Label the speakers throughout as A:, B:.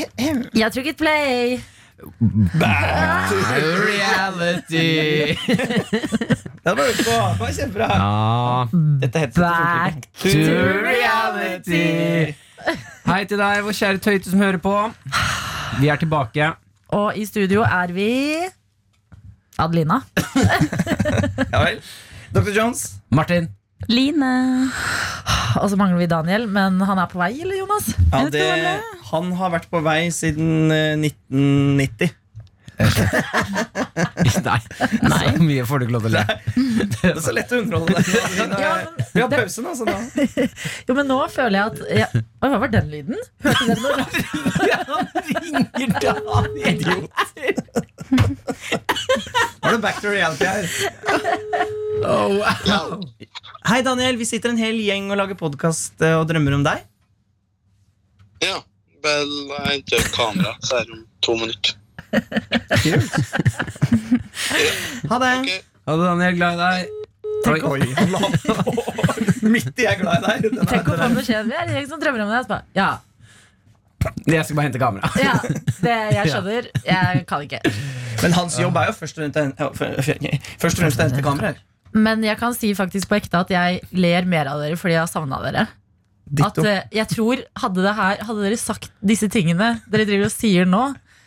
A: Jeg trykket play.
B: Reality!
C: Ja, det var jo bra. Det var kjempebra.
B: Ja.
C: Dette heter
A: Back
B: to reality. Hei til deg, vår kjære tøyte som hører på. Vi er tilbake.
A: Og i studio er vi Adelina.
C: Ja vel. Dr. Jones.
B: Martin.
D: Line.
A: Og så mangler vi Daniel, men han er på vei, eller Jonas?
C: Ja,
D: Jeg tror
C: det, han har vært på vei siden eh, 1990.
B: Nei. Så mye får du ikke lov til å le.
C: Det er så lett å underholde deg. Nå er-
A: Ja, men,
C: Vi har pause nå, så da
A: jo, men nå føler jeg at jeg, Oi, Hva var den lyden? Hørte dere noe?
C: ringer Daniel. Idioter. Var det back to reality her? Hei, Daniel. Vi sitter en hel gjeng og lager podkast og drømmer om deg.
E: Ja, vel, jeg henter kamera, så er det om to minutter.
C: Ha det.
E: Ok,
B: Ha det, Daniel. Glad i deg. Oi.
C: han la på. Midt i jeg er glad i deg. Den er-
A: Tenk å
C: den
A: få
C: er-
A: beskjed Vi er en gjeng som drømmer om det. og så bare, Ja,
B: Jeg skal bare hente kamera.
A: ja, det jeg skjønner. Jeg kan ikke.
C: Men hans jobb er jo først og fremst ja, først og fremst å hente kameraer.
A: Men jeg kan si faktisk på ekte at jeg ler mer av dere fordi jeg har savna dere. At,
C: Ditto.
A: eh, jeg tror hadde, det her, hadde dere sagt disse tingene dere driver og sier nå,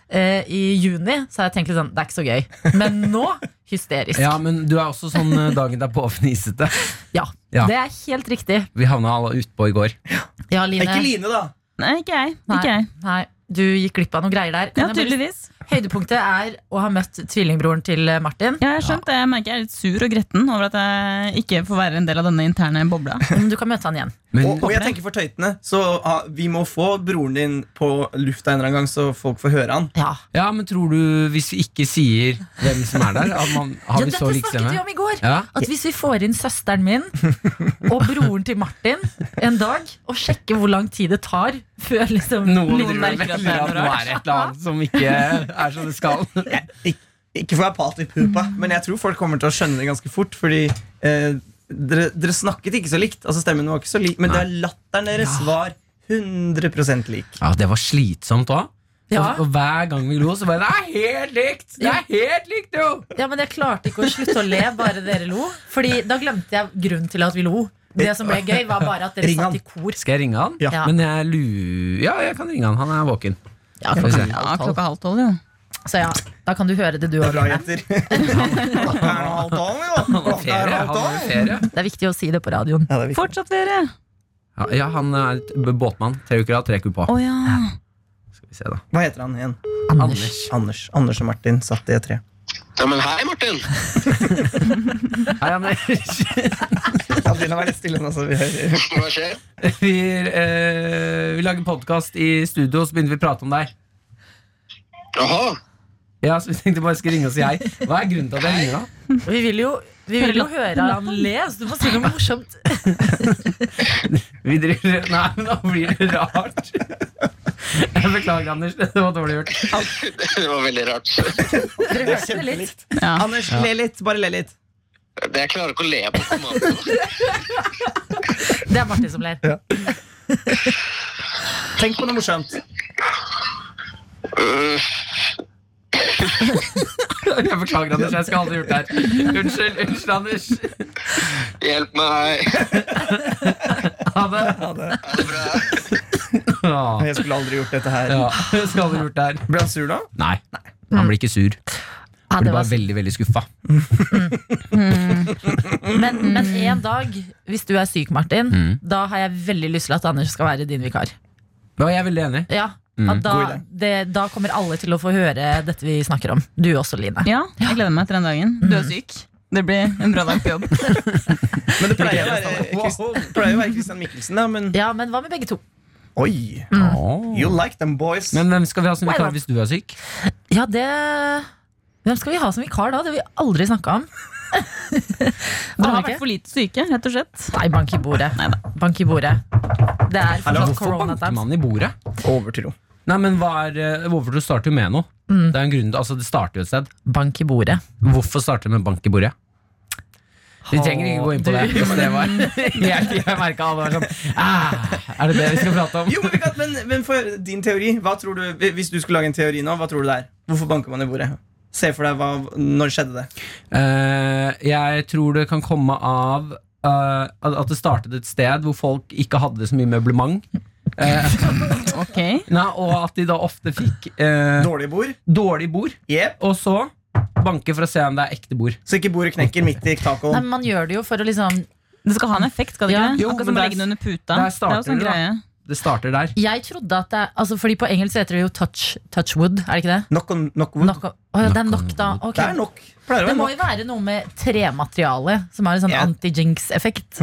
A: eh, i juni, så hadde jeg tenkt litt sånn Det er ikke så gøy. Men nå hysterisk.
B: Ja, men du er også sånn eh, dagen derpå fnisete.
A: Ja,
B: Ja.
A: Det er helt riktig.
B: Vi havna alle utpå i går.
A: Ja, Line.
C: Ikke Line, da.
D: Nei, ikke jeg. Ikke jeg.
A: Nei, du gikk glipp av noen greier der.
D: Ja,
A: Kan jeg bare-
D: tydeligvis.
A: Høydepunktet er å ha møtt tvillingbroren til eh, Martin.
D: Ja, jeg har skjønt det. Jeg merker jeg er litt sur og gretten over at jeg ikke får være en del av denne interne bobla.
A: Men du kan møte han igjen.
B: Men
C: Og, og jeg tenker for tøytene, så ah, vi må få broren din på lufta en eller annen gang, så folk får høre han.
A: Ja,
B: Ja, men tror du, hvis vi ikke sier hvem som er der at man, Har
A: ja
B: vi
A: Dette
B: så
A: snakket vi
B: likestemme?
A: om i går.
B: Ja.
A: At hvis vi får inn søsteren min og broren til Martin en dag, og sjekker hvor lang tid det tar før liksom,
B: Noen,
A: noen,
B: driver og
A: merker at det er
B: melder at
A: noe
B: nå
A: rart.
B: er det et eller annet som ikke er som det skal.
C: Ikke for å være partypoopa, men jeg tror folk kommer til å skjønne det ganske fort. Fordi eh, dere, dere snakket ikke så likt, altså stemmen var ikke så lik, men det er latteren deres var 100 lik.
B: Ja, Det var slitsomt òg.
A: Ja.
B: Og, og hver gang vi lo, så bare Det er helt likt! Det er helt likt, jo!
A: Ja, men jeg klarte ikke å slutte å le, bare dere lo. Fordi da glemte jeg grunnen til at vi lo. Det som ble gøy, var bare at dere
C: Ring han.
A: satt i kor.
B: Skal jeg ringe han?
C: Ja.
B: Men jeg lu... Ja, jeg kan ringe han. Han er våken.
A: Ja,
B: Skal vi se.
D: Ja, klokka halv tolv, jo.
A: Så ja, da kan du høre det, du òg.
C: Bra, jenter. Klokka er nå halv tolv, jo.
B: Han har
C: Klokka er
B: ferie.
C: halv
B: Han har
C: tolv.
B: ferie.
A: Det er viktig å si det på radioen.
C: Ja, det er viktig.
D: Fortsatt ferie!
B: Ja, ja, han er et b- båtmann. Tre uker av, tre uker på.
D: Å ja.
B: Skal vi se, da.
C: Hva heter han igjen?
A: Anders.
C: Anders. Anders og Martin satt i et tre.
E: ja, men hei, Martin.
B: Hei, Anders.
C: Ja, Dina var litt stille nå, så vi hører.
E: Hva skjer?
B: Vi, eh, vi lager podkast i studio, og så begynner vi å prate om deg.
E: Jaha.
B: Ja, så vi tenkte bare skal ringe og si hei. Hva er grunnen til at jeg ringer, da?
A: Vi vil jo, vi vil jo høre han le, så du må si noe morsomt.
B: Vi driver Nei, men da blir det rart. Jeg beklager, Anders. Det var dårlig gjort.
E: Det var veldig rart.
A: Dere hørte det litt.
D: ja.
C: Anders, le litt. Bare le litt.
E: Jeg klarer ikke å le på kommando.
A: Det er Martin som ler.
C: Tenk på noe morsomt.
E: Øh,
B: Jeg beklager, Anders. Jeg skal aldri ha gjort det her. Unnskyld, unnskyld, Anders.
E: hjelp meg.
B: Ha det.
E: Ha det bra.
B: Ja,
C: Jeg skulle aldri gjort dette her.
B: jeg skal aldri ha gjort det her.
C: Ble han sur da?
B: Nei. Han blir ikke sur.
A: Ja,
B: Han
A: det
B: blir
A: var
B: bare veldig, veldig skuffa.
A: Men, men en dag, hvis du er syk, Martin,
B: Mm.
A: da har jeg veldig lyst til at Anders skal være din vikar.
B: Ja, jeg er veldig enig.
A: Ja,
B: Mm.
A: at da,
C: God idé.
A: det, da kommer alle til å få høre dette vi snakker om. Du også, Line.
D: ja, jeg gleder meg til den dagen. Du er syk. Det blir en bra dag på jobb.
C: Men det pleier å være Christ- pleier å være Christian Mikkelsen, da. Men
A: Ja, men hva med begge to?
C: oi!
B: Åh.
C: You like them, boys.
B: Men hvem skal vi ha som
A: Mm. Why
B: vikar
A: not?
B: hvis du er syk?
A: Ja, det Hvem skal vi ha som vikar da? Det har vi aldri snakka om.
D: Dere har
A: Aner
D: vært
A: ikke.
D: for lite syke, rett og slett.
A: Nei, bank i bordet. Bank i bordet. Det er
C: Hallo,
A: fortsatt
B: Altså, Hvorfor
A: corona
B: banker man i bordet?
C: Overtro.
B: Nei, men hva er, eh, Hvorfor du starter med noe?
A: Mm.
B: Det er en grunn til, altså det starter jo et sted.
A: Bank i bordet.
B: Hvorfor starter du med bank i bordet? Vi trenger ikke gå inn på det.
A: Du-
B: hvis det var. Jeg, jeg merket han var sånn ah, Er det det vi skal prate om?
C: Jo, men, vi kan, men, men for din teori, hva tror du, hvis du skulle lage en teori nå, hva tror du det er? Hvorfor banker man i bordet? Se for deg, hva, når skjedde det?
B: Eh, jeg tror det kan komme av eh, at at det startet et sted hvor folk ikke hadde så mye møblement. Eh,
D: Ok.
B: nei, og at de da ofte fikk eh,
C: Dårlig bord?
B: dårlig bord.
C: Jep.
B: Og så banke for å se om det er ekte bord.
C: Så ikke bordet knekker midt i
A: Nei,
C: tacoen?
A: men man gjør det jo for å liksom
D: Det skal ha en effekt, skal det
A: Ja.
D: ikke? det?
B: Jo,
D: Akkurat
B: men
D: som å
B: der-
D: legge den under puta.
B: der
D: Det er jo
B: starter
D: sånn
B: det, da.
D: greie.
B: Det starter der.
A: Jeg trodde at det altså Fordi på engelsk heter det jo touch, touchwood, er det ikke det?
C: Knock on knock wood.
A: Knock, oh, ja, det er nok,
B: Knock on
A: da.
B: wood.
A: Ok.
C: Det er nok. Pleier å
A: Det
C: være
A: må
C: nok.
A: jo være noe med tremateriale som har en sånn
C: Ja.
A: anti-jinx-effekt.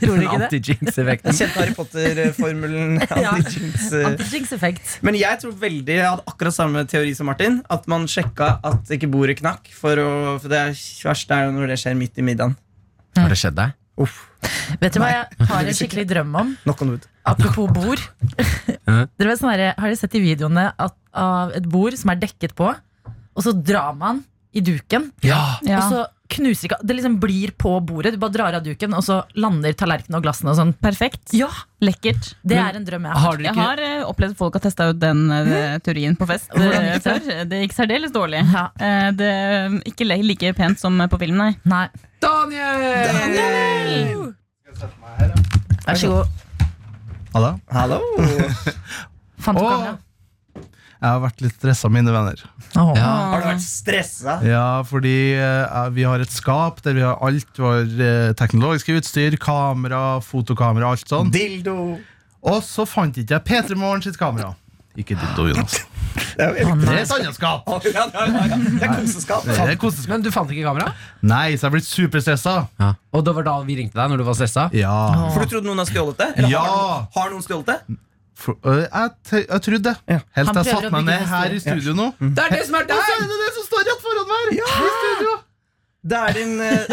A: Tror du ikke det?
B: Anti-jinx-effekten.
C: Den kjente Harry Potter-formelen. anti-jinx, eh.
A: Anti-jinx-effekt.
C: Men jeg tror veldig, jeg hadde akkurat samme teori som Martin. At man sjekka at ikke bordet knakk. For, å, for det er verst er jo når det skjer midt i middagen.
B: Har det skjedd deg?
C: Uff,
A: Vet dere hva jeg har en skikkelig drøm om?
C: knock on wood.
A: Apropos bord.
B: Ja.
A: dere vet sånn her, Har dere sett i videoene at, av et bord som er dekket på, og så drar man i duken,
B: Ja!
D: Ja.
A: og så knuser ikke Det liksom blir på bordet. Du bare drar av duken, og så lander tallerkenene og glassene og sånn.
D: Perfekt.
A: Ja,
D: Lekkert.
A: Det
B: Men
A: er en drøm jeg har.
B: Har dere
D: Jeg
B: ikke
D: har eh, opplevd folk har testa ut den eh, teorien på fest
A: Hvordan
D: eh,
A: gikk det?
D: før. Det gikk særdeles dårlig.
A: Ja.
D: Eh, det, ikke le- like pent som eh, på film, nei.
A: Nei,
B: Daniel!
A: vær så god.
F: Hallo.
C: Hallo!
A: Fant du
F: Åh.
A: kamera?
F: Jeg har vært litt stressa av mine venner.
A: Åh.
B: Ja.
C: Har du vært stressa?
F: Ja, fordi eh, vi har et skap der vi har alt vår eh, teknologiske utstyr, kamera, fotokamera, alt sånn.
C: Dildo.
F: Og så fant ikke jeg P3 Morgen sitt kamera. Ikke dildo, Jonas.
C: Det er jo
A: Å,
F: Det
A: nei.
F: er et annet skap.
C: Ja, ja, ja, ja. Det er koseskap.
F: Det er koseskap.
B: Men du fant ikke kamera?
F: Nei, så jeg har blitt superstressa.
B: Og det var da vi ringte deg når du var stressa?
F: Ja.
C: For du trodde noen har stjålet det? Eller har,
F: Ja.
C: noen, har noen stjålet det?
F: For, eh, jeg, t jeg trodde det.
C: Ja.
A: Han
F: Helt til jeg
A: prøver
F: satte
A: å
F: meg
A: bygge
F: ned
A: en
F: her i
A: historie.
F: studio nå.
B: Det er det som er
F: Og så er det det som står rett foran meg! I studio.
C: Det er din, eh,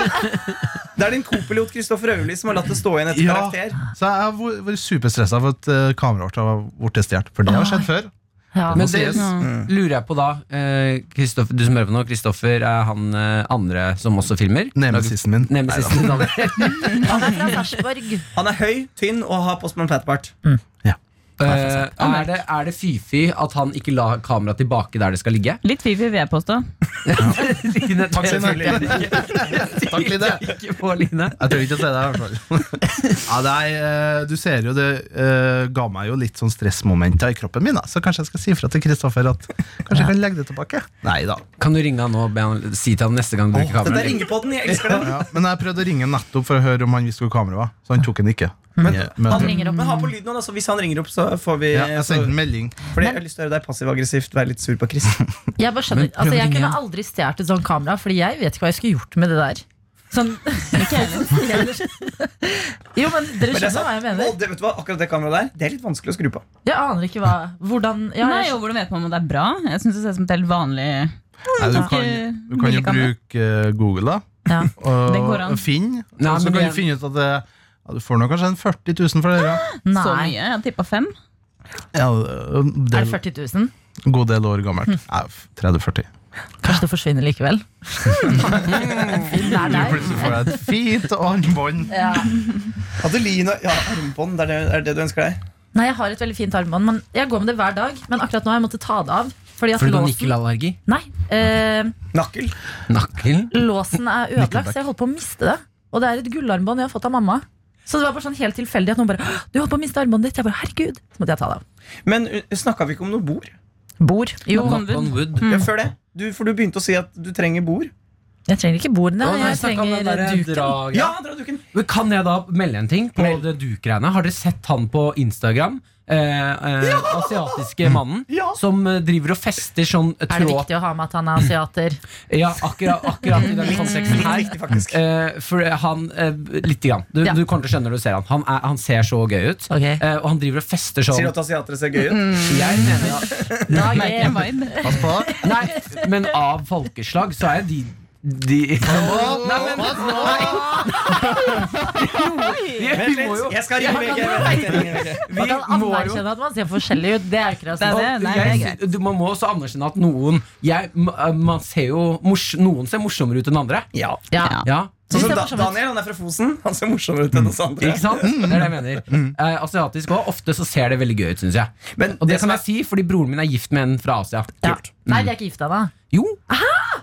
C: det er din co-pilot Kristoffer Auli som har latt det stå igjen etter
F: Ja.
C: karakter.
F: Så jeg har vært- vært superstressa for at eh, kameraet vårt har blitt stjålet. For det har skjedd før.
A: Ja.
B: Men
F: må
B: det
F: sies.
D: Mm.
B: lurer jeg på da eh, Kristoffer, Du som hører på nå, Kristoffer er han eh, andre som også filmer?
F: Nemesisen min.
B: Nemesisen din, Daniel.
A: Han er fra Sarpsborg.
C: Han er høy, tynn og har Postman Pat-bart.
B: Eh, er det, er det fy-fy at han ikke la kameraet tilbake der det skal ligge?
D: Litt fifi, vil jeg påstå.
B: Takk
F: Line. Takk, Line.
B: Ikke på Line.
F: Jeg tør ikke å se deg, i hvert fall. ja, nei, eh, du ser jo, det eh, ga meg jo litt sånn stressmomenter i kroppen min, da. så kanskje jeg skal si ifra til Kristoffer at kanskje jeg kan legge det tilbake. Nei da.
B: Kan du ringe han nå og be han, si til han neste gang du bruker
C: Den der
B: kamera?
C: ringepodden, jeg elsker den.
F: Ja, men jeg prøvde å ringe nettopp for å høre om han visste hvor kameraet var, så han tok den ikke.
C: Men
F: Ja,
C: han
A: ringer opp.
C: Men ha på lyd nå, da, så hvis han ringer opp, så får vi
F: ja, jeg
C: så,
F: sendte en melding.
C: Fordi jeg har lyst til å høre deg passiv-aggressivt være litt sur på Chris.
A: Jeg bare skjønner,
B: Men prøv
A: altså
B: å
A: jeg
B: ringe
A: kunne
B: igjen.
A: aldri stjålet et sånt kamera, Fordi jeg vet ikke hva jeg skulle gjort med det der. Sånn, jo,
C: Men det
A: men dere
C: er
A: skjønner hva jeg
C: sant.
A: mener.
C: Og det, vet du hva, akkurat det kameraet der, det er litt vanskelig å skru på.
A: Jeg aner ikke hva Hvordan ja,
D: Nei,
A: jeg,
D: og hvordan vet man om det er bra? Jeg syns det ser ut som et helt vanlig
F: Nei, du, kan, du kan jo
D: Billigkamera.
F: bruke eh, Google, da.
A: Ja.
F: Og,
D: Det går an.
F: og finne.
B: Nei,
F: og så
B: men
F: kan
B: det-
F: du finne ut at det, ja, du får nå kanskje en 40 000 for det. Ja.
A: nei.
D: så mye. Jeg tippa fem.
F: Ja, det
A: Er
F: er
A: det 40 000?
F: en god del år gammelt. Nei, 30-40.
A: Kanskje det forsvinner likevel? det er
F: Du
A: deg.
F: plutselig får deg et fint armbånd.
A: Ja.
C: Adelina, ja, armbånd, det er det, er det du ønsker deg?
A: Nei, jeg har et veldig fint armbånd. Men jeg går med det hver dag. Men akkurat nå har jeg måttet ta det av. Fordi at
B: Fordi du har
A: låsen,
B: nikkelallergi?
A: nei, eh,
C: Nakkel?
B: Nakkelen?
A: låsen er ødelagt,
F: Nickelback.
A: så jeg holdt på å miste det. Og det er et gullarmbånd jeg har fått av mamma. Så det var bare sånn helt tilfeldig at noen bare «Åh, Du holdt på å miste armbåndet ditt. Jeg bare herregud. Så måtte jeg ta det av.
C: Men snakka vi ikke om noe bord?
A: Bord. Jo,
D: Knock
B: Knock on wood.
C: Ja, før det. Du, for du begynte å si at du trenger bord.
A: jeg trenger ikke bord, nei.
B: Å, nei,
A: Jeg
B: snakk om den
A: trenger
B: der
A: duken.
B: dragen.
C: Ja, dra duken!
B: Men kan jeg da melde en ting på
C: Meld.
B: det du-greiene? Har dere sett han på Instagram? Eh, eh, Asiatiske mannen
C: Ja.
B: som eh, driver og fester sånn eh,
A: Er det
B: tråd
A: viktig å ha med at han er asiater?
B: Ja, akkurat, akkurat i den konteksten
C: Litt
B: her.
C: viktig, faktisk.
B: Eh, for han eh, Lite grann. Du,
A: Ja.
B: du kommer til å skjønne når du ser han. Han, er, han ser så gøy ut.
A: Ok.
B: Eh, og han driver og fester sånn.
C: Sier du at asiatere ser gøy ut?
B: Jeg mener at
A: Dag én.
D: Merker en vibe.
F: Pass på deg.
B: Nei, men av folkeslag så er de de Nei, men
F: Pass på deg.
C: Vent
B: vi må
C: litt,
B: jo
C: jeg skal ringe VG. vent, jeg ringer VG.
B: vi
A: Man kan
B: må jo
A: anerkjenne at man ser forskjellig ut. Det er ikke
D: Det er
A: rasisme.
D: det. Nei, det er
B: jeg, du, man må også anerkjenne at noen jeg, m- eh, Man ser jo mors, Noen ser morsommere ut enn andre.
C: Ja.
A: Ja.
D: Ja.
B: Ja,
C: Sånn som
A: Det ser
C: da,
A: morsomt ut.
C: Daniel han er fra Fosen. Han ser morsommere ut enn oss andre.
B: Ikke sant? Det er det jeg mener. Eh, asiatisk òg. Ofte så ser det veldig gøy ut, syns jeg.
C: Mm. Men
B: Og det
C: det som
B: kan
C: er-
B: jeg si, fordi broren min er gift med en fra Asia.
A: Ja. Nei, de er ikke gift ennå.
B: Jo.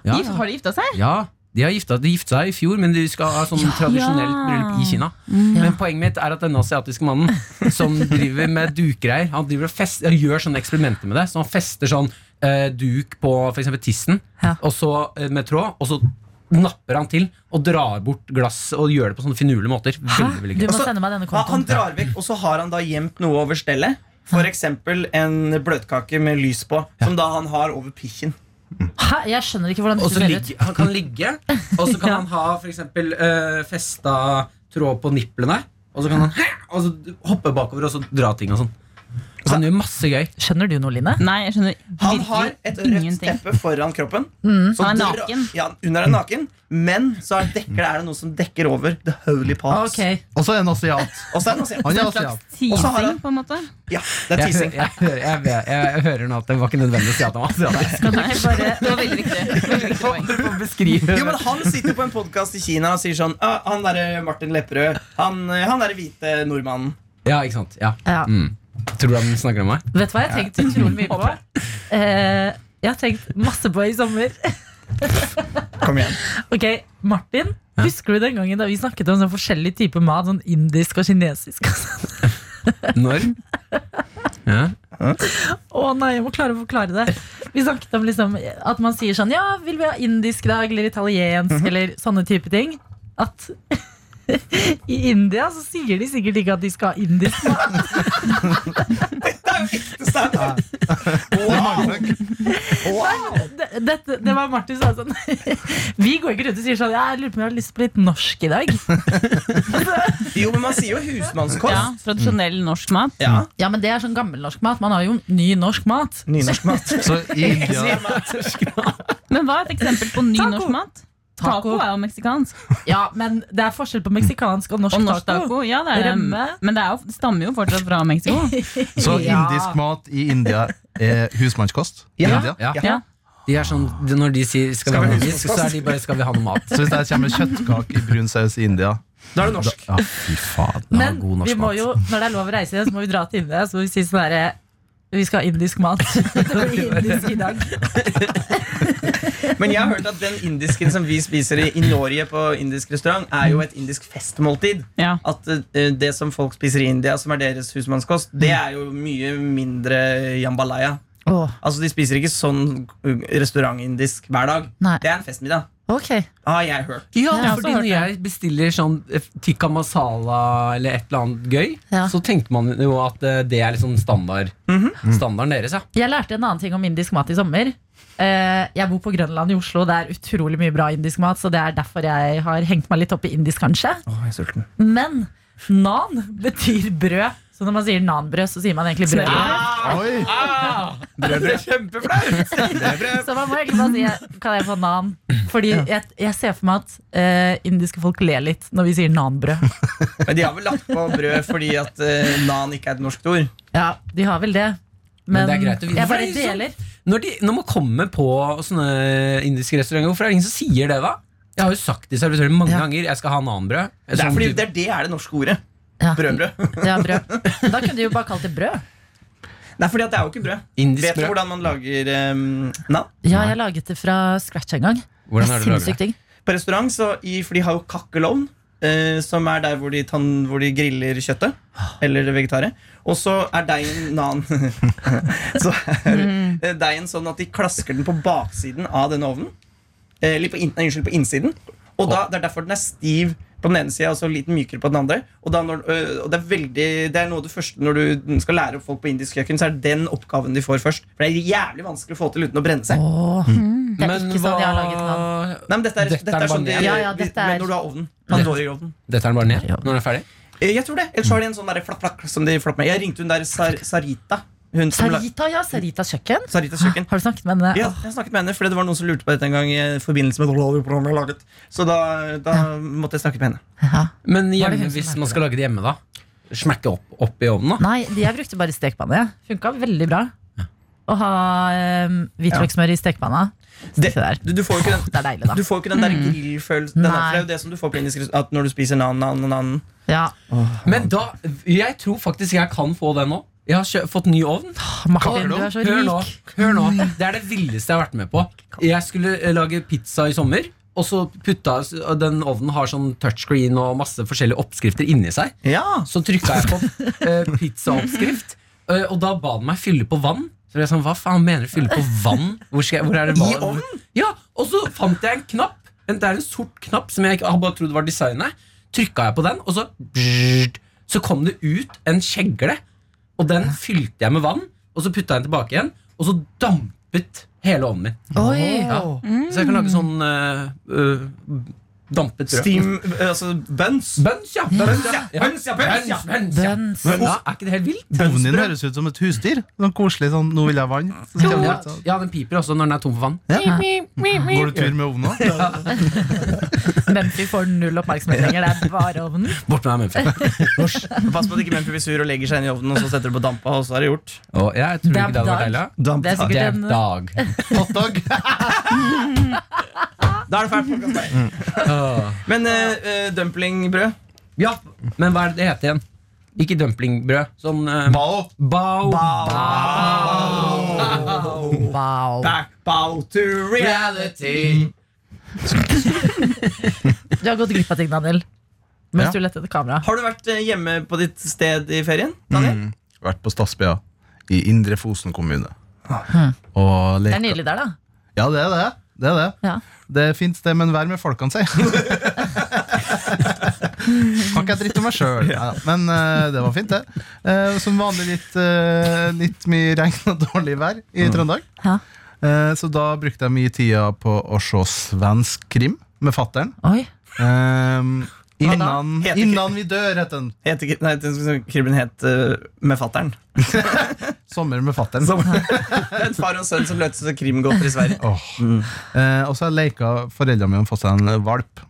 B: Ja,
D: Gift- Har de gifta seg?
B: ja. De har gifta, de gifta seg i fjor, men de skal ha sånn tradisjonelt bryllup i Kina. Men poenget mitt er at denne asiatiske mannen som driver med dukgreier, han driver og fest, han gjør sånne eksperimenter med det. Så han fester sånn eh, duk på f.eks. tissen
A: Ja.
B: og så, eh, med tråd, og så napper han til og drar bort glass og gjør det på sånne finurlige måter.
A: Hæ?
B: Veldig, veldig
A: Du
B: gøy.
A: må
C: Altså,
A: sende meg denne
C: Han, han
A: kontoen.
C: drar vekk, og så har han da gjemt noe over stellet. For eksempel en bløtkake med lys på, som da han har over pikken.
A: Hæ? Jeg skjønner ikke hvordan
B: Og
A: dette
B: så
A: ser
B: ligge,
A: ut.
B: han kan ligge, og så kan han ha for eksempel eh, festa tråd på nipplene. Og så kan han hæ, og så hoppe bakover og så dra ting og sånn. Så han gjør masse gøy.
A: Skjønner du noe, Line?
D: Nei, jeg skjønner
C: Han
D: virkelig
C: har et rødt
D: ingenting.
C: teppe foran kroppen. Så
D: Han er
C: dra-
D: naken.
C: Ja, under er naken, men så er, dekker, er det noe som dekker over the holy parts.
A: Ok,
F: Og så er han asiat.
C: Og så er det noe som-
F: Han er asiat.
C: Og så har
D: Teasing,
C: han-
D: på en måte.
C: Ja, det er
B: Jeg,
C: teasing.
B: jeg, jeg, jeg, jeg, jeg hører nå at det var ikke nødvendig å si at han var asiatisk.
A: Skal du ikke bare
D: Det var veldig viktig. Det var veldig viktig poeng.
B: For å beskrive
C: Jo, men Han sitter på en podkast i Kina og sier sånn «Ah, Han derre Martin Lepperød, han, eh, han derre hvite nordmannen.
B: Ja, ikke sant. Ja.
A: ja.
B: Mm. Tror du han snakker om meg?
A: Vet du hva jeg har tenkt utrolig mye på? Eh, jeg har tenkt masse på i sommer.
C: Kom igjen.
A: Ok, Martin, husker du den gangen da vi snakket om sånn forskjellig type mat? Sånn indisk og kinesisk? og sånn?
B: Når? Ja.
A: Å nei, jeg må klare å forklare det. Vi snakket om liksom at man sier sånn Ja, vil vi ha indisk i dag, eller italiensk,
C: Mhm.
A: eller sånne type ting. At i India så sier de sikkert ikke at de skal ha indisk mat.
C: Det er jo ekte standup!
A: Det, dette- det var Martin som sa sånn Vi går ikke rundt og sier sånn Jeg lurer på om jeg har lyst på litt norsk i dag.
C: Jo, men man sier jo
D: Ja,
C: husmannskost.
D: tradisjonell norsk mat.
C: Ja.
A: Ja, men det er sånn gammelnorsk mat. Man har jo ny norsk mat.
C: Nynorsk mat.
F: Så i India
D: Men hva er et eksempel på ny
A: Taco.
D: norsk mat? Taco er jo meksikansk.
A: Ja, men det er forskjell på meksikansk og norsk,
D: Og norsk
A: taco.
D: taco, ja det er det.
A: Rømme.
D: Men det er jo, stammer jo fortsatt fra Mexico.
F: Så
A: Ja.
F: indisk mat i India er husmannskost? i
C: Ja.
F: India.
B: Ja.
D: Ja.
B: De er sånn, de- når de sier 'skal vi ha noe indisk', så er de bare 'skal vi ha noe mat'.
F: Så hvis jeg kommer med kjøttkake i brun saus i India
C: Da er det norsk.
F: Ja, fy faen. det var
A: Men
F: god norsk
A: vi må
F: mat.
A: jo, når det er lov å reise, så må vi dra til India Så må vi si sånn herre Vi skal ha indisk mat. Det blir indisk i dag.
C: Men jeg har hørt at den indisken som vi spiser i, i Norge på indisk restaurant, er jo et indisk festmåltid.
D: Ja.
C: At eh, det som folk spiser i India, som er deres husmannskost, det er jo mye mindre jambalaya. Altså, De spiser ikke sånn uh, restaurantindisk hver dag.
A: Nei.
C: Det er en festmiddag,
A: Ok.
C: har jeg hørt.
B: Ja,
A: Jeg har også
B: fordi
A: hørt
B: når jeg bestiller sånn eh, tikka masala eller et eller annet gøy,
A: Ja.
B: så tenkte man jo at eh, det er liksom standard,
C: Mhm.
A: Mm.
B: standarden deres, ja.
A: Jeg lærte en annen ting om indisk mat i sommer. Eh, jeg bor på Grønland i Oslo. Det er utrolig mye bra indisk mat, så det er derfor jeg har hengt meg litt opp i indisk, kanskje.
C: Åh, jeg er sulten.
A: Men nan betyr brød. Så når man sier nanbrød, så sier man egentlig brød.
F: Oi,
C: Det er kjempeflaut!
A: Så man må egentlig bare si Kan jeg få nan? Fordi jeg, jeg ser for meg at eh, indiske folk ler litt når vi sier nanbrød.
C: Men de har vel lagt på brød fordi at eh, nan ikke er et norsk ord.
A: Ja, de har vel det. Men,
B: Men det er greit å vite.
A: jeg
B: For
A: bare
B: det er jo
A: deler.
B: Når, de, når man kommer på sånne indiske restauranter, hvorfor er det ingen som sier det, da? Jeg har jo sagt til servitøren mange
A: Ja.
B: ganger jeg skal ha nanbrød.
C: Det er
B: Sånn
C: fordi
B: type-
C: det er det er det norske ordet.
A: Ja.
C: Brødbrød.
A: Ja, brød. Da kunne de jo bare kalt det brød.
C: Nei, fordi at det er jo ikke brød.
B: Indisk
C: Vet du
B: brød.
C: hvordan man lager um, nan?
A: Ja, jeg laget det fra scratch en gang.
B: Hvordan er det du lager det?
A: Sinnssykt digg.
C: på restaurant, så i, for de har jo kakkelovn, eh, som er der hvor de, tann, hvor de griller kjøttet. Eller det vegetaret. Og så er deigen nan Så er eh, deigen sånn at de klasker den på baksiden av denne ovnen. Eh, Eller på, in, nei, unnskyld, på innsiden. Og da, Det er derfor den er stiv på den ene sida og så litt mykere på den andre. Og, da når, øh, og det, er veldig, det er noe av det første når du skal lære opp folk på indisk kjøkken, så er det den oppgaven de får først. For det er jævlig vanskelig å få til uten å brenne seg.
A: Åh, det er ikke sånn jeg har laget den.
C: Nei, men dette er,
B: Dette
C: dette
B: er
C: er sånn de,
B: bare-
A: Ja, ja,
C: de-
A: dette er-
C: Men når du har ovnen. Pandora-ovnen.
B: Dette er den bare ned når den er ferdig?
C: Eh, Jeg tror det. Ellers har de en sånn der flapp, flapp, som de flapper med. Jeg ringte hun der Sar Sarita. Hun som la-
A: Sarita, Ah. ja. Saritas kjøkken.
C: Saritas kjøkken.
A: Har du snakket med henne?
C: Ja, jeg snakket med henne, for det var noen som lurte på dette en gang i forbindelse med radioprogrammet jeg laget. Så da, da måtte jeg snakke med henne.
A: Ja.
B: Men
A: Var det hun
B: hjemme,
A: som
B: hvis
A: lærte
B: man skal lage det hjemme, da? Smekke opp, opp i ovnen, da?
A: Nei, de jeg brukte bare stekepanne. Funka veldig bra. å ha um, hvitløkssmør i stekepanna.
C: Det-
A: Det, der.
C: Du, du får jo ikke den
A: det er deilig,
C: du
A: da.
C: får ikke den der grillfølelsen. Den er, for
A: Ah. Mm. Nei.
C: det er jo det som du får på indisk restaurant. At når du spiser nan, nan, nan
A: Ja,
B: Men da, jeg tror faktisk jeg kan få det nå. Jeg har kjø fått ny ovn.
A: Martin, du er så
B: Hør nå,
A: rik.
B: hør nå. Det er det villeste jeg har vært med på. Jeg skulle eh, lage pizza i sommer. Og så putta og Den ovnen har sånn touchscreen og masse forskjellige oppskrifter inni seg.
C: Ja!
B: Så trykka jeg på eh, pizzaoppskrift, eh, og da ba den meg fylle på vann. Så ble jeg sånn, hva faen mener du fylle på vann? Hvor, skal jeg, hvor er det vann? Ja, Og så fant jeg en knapp. En, det er en sort knapp som jeg ikke, jeg bare trodde var designet. Trykka jeg på den, og så brrrt, Så kom det ut en kjegle, og den fylte jeg med vann. Og så putta jeg den tilbake igjen, og så dampet hele ovnen min.
A: Oi.
B: Ja. Så jeg kan lage sånn eh, eh, dampet brød.
C: Steam Altså buns.
B: Buns, ja! Buns, ja!
C: Buns, ja, buns, ja.
B: Buns, ja.
A: Bønns.
B: Men da, er ikke det helt vilt?
F: Ovnen din høres ut som et husdyr. Sånn koselig sånn 'nå vil jeg ha vann'. Så kommer
B: Ja,
F: det ut sånn.
B: ja, den piper også når den er tom for vann.
F: Går du tur med ovnen òg?
A: Mumphy får null oppmerksomhet lenger. Det er bare ovnen.
B: Bort med deg, Mumphy.
C: Pass på at ikke Mumphy blir sur og legger seg inn i ovnen, og så setter du på dampa, og så er det gjort.
B: Og jeg tror ikke det hadde vært
A: Damp dag.
B: deilig.
A: Det er sikkert en
B: dag.
F: Hotdog?
C: Da er det fælt. folkens, nei. Men eh, eh, dumplingbrød
B: Ja, men hva er det det heter igjen? Ikke dumplingbrød. Sånn eh,
F: Bao.
B: bao.
A: Wow.
C: Back bow to reality.
A: Du har gått glipp av ting, Daniel. Mens
F: Ja.
A: du lette etter kamera.
C: Har du vært eh, hjemme på ditt sted i ferien? Daniel?
F: Mm. Vært på Stadsbya i Indre Fosen kommune. Og
A: Det er
F: leka.
A: nydelig der, da.
F: Ja, det er det. Det er det.
A: Ja.
F: Det er fint sted, men vær med folkene, si. Kan ikke jeg dritte om meg sjøl. Ja, men eh, det var fint, det. Eh, som vanlig litt, eh, litt mye regn og dårlig vær i Trøndelag.
A: Ja.
F: Eh, så da brukte jeg mye tida på å se svensk krim med fattern.
A: Oi.
F: Um, innan,
C: Heter ikke-
F: innan vi dør, het den.
C: Het ikke- Nei, den skulle- Kribben het eh, Med fatter'n.
F: Sommer med fattern.
C: Som- Det er en far og en sønn som løses av krimgåter i Sverige.
F: Åh. Eh, og så har jeg leka foreldra mine fått seg en valp.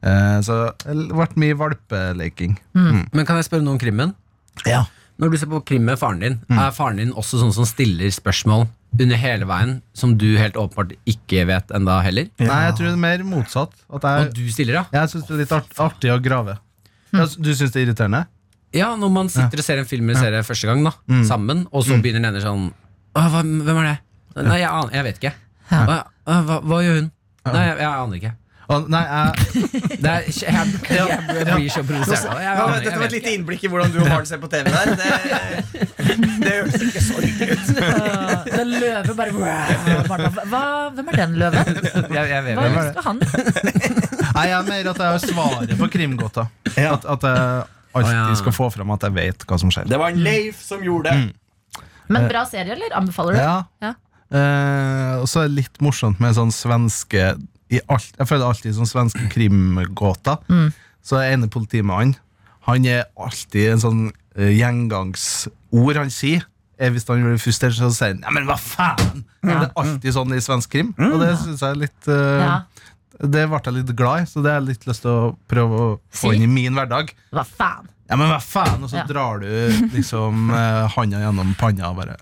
F: Eh, så det har vært mye valpeleking.
B: Men kan jeg spørre noe om krimmen?
F: Ja.
B: Når du ser på krim med faren din, er faren din også sånn som stiller spørsmål under hele veien som du helt åpenbart ikke vet enda heller?
F: Nei, jeg tror det er mer motsatt. At
B: Og
F: jeg
B: du stiller, ja?
F: jeg syns det er litt art, artig å grave. Ja, s- Du syns det er irriterende?
B: Ja, når man sitter og ser en film eller serie første gang, da, sammen, og så begynner den ene sånn «Åh, hva, Hvem er det? Nei, jeg, aner, jeg vet ikke. Hva, «Åh, hva, hva gjør hun? Nei, jeg, jeg aner ikke.
F: Å, nei, jeg,
B: Det er, jeg, jeg, jeg blir så provosert. av det. Jeg
C: Ja,
B: aner-
C: men
B: jeg
C: Dette var et
B: vet ikke.
C: lite innblikk i hvordan du og Maren ser på TV der. Det, det høres ikke så hyggelig ut.
A: Øh, Den løve bare Barna, Hva, Hvem er den løven?
B: Jeg- jeg vet
A: Hva
B: ikke.
A: skal han?
F: nei, jeg er mer at jeg svarer på krimgåta.
C: Ja.
F: At, at jeg
B: Å, ja.
F: alltid skal få fram at jeg vet hva som skjer.
C: Det var en Mm. Leif som gjorde det.
A: Men bra serie, eller? Anbefaler du?
F: Ja.
A: Ja.
F: Eh, og så er det litt morsomt med sånn svenske i alt, Jeg føler alltid sånn svenske krimgåter.
A: Mm.
F: Så er ene politimannen Han er alltid en sånn eh, gjengangsord han sier. Er hvis han blir frustrert, så sier han 'nei, men hva faen'? Det er alltid sånn i svensk krim. Og det synes jeg er litt eh,
A: Ja.
F: Det ble jeg litt glad i, så det har jeg litt lyst til å prøve å
A: Si.
F: få inn i min hverdag.
A: Hva faen?
F: Ja, men hva faen? Og så
A: Ja.
F: drar du liksom eh, handa gjennom panna og bare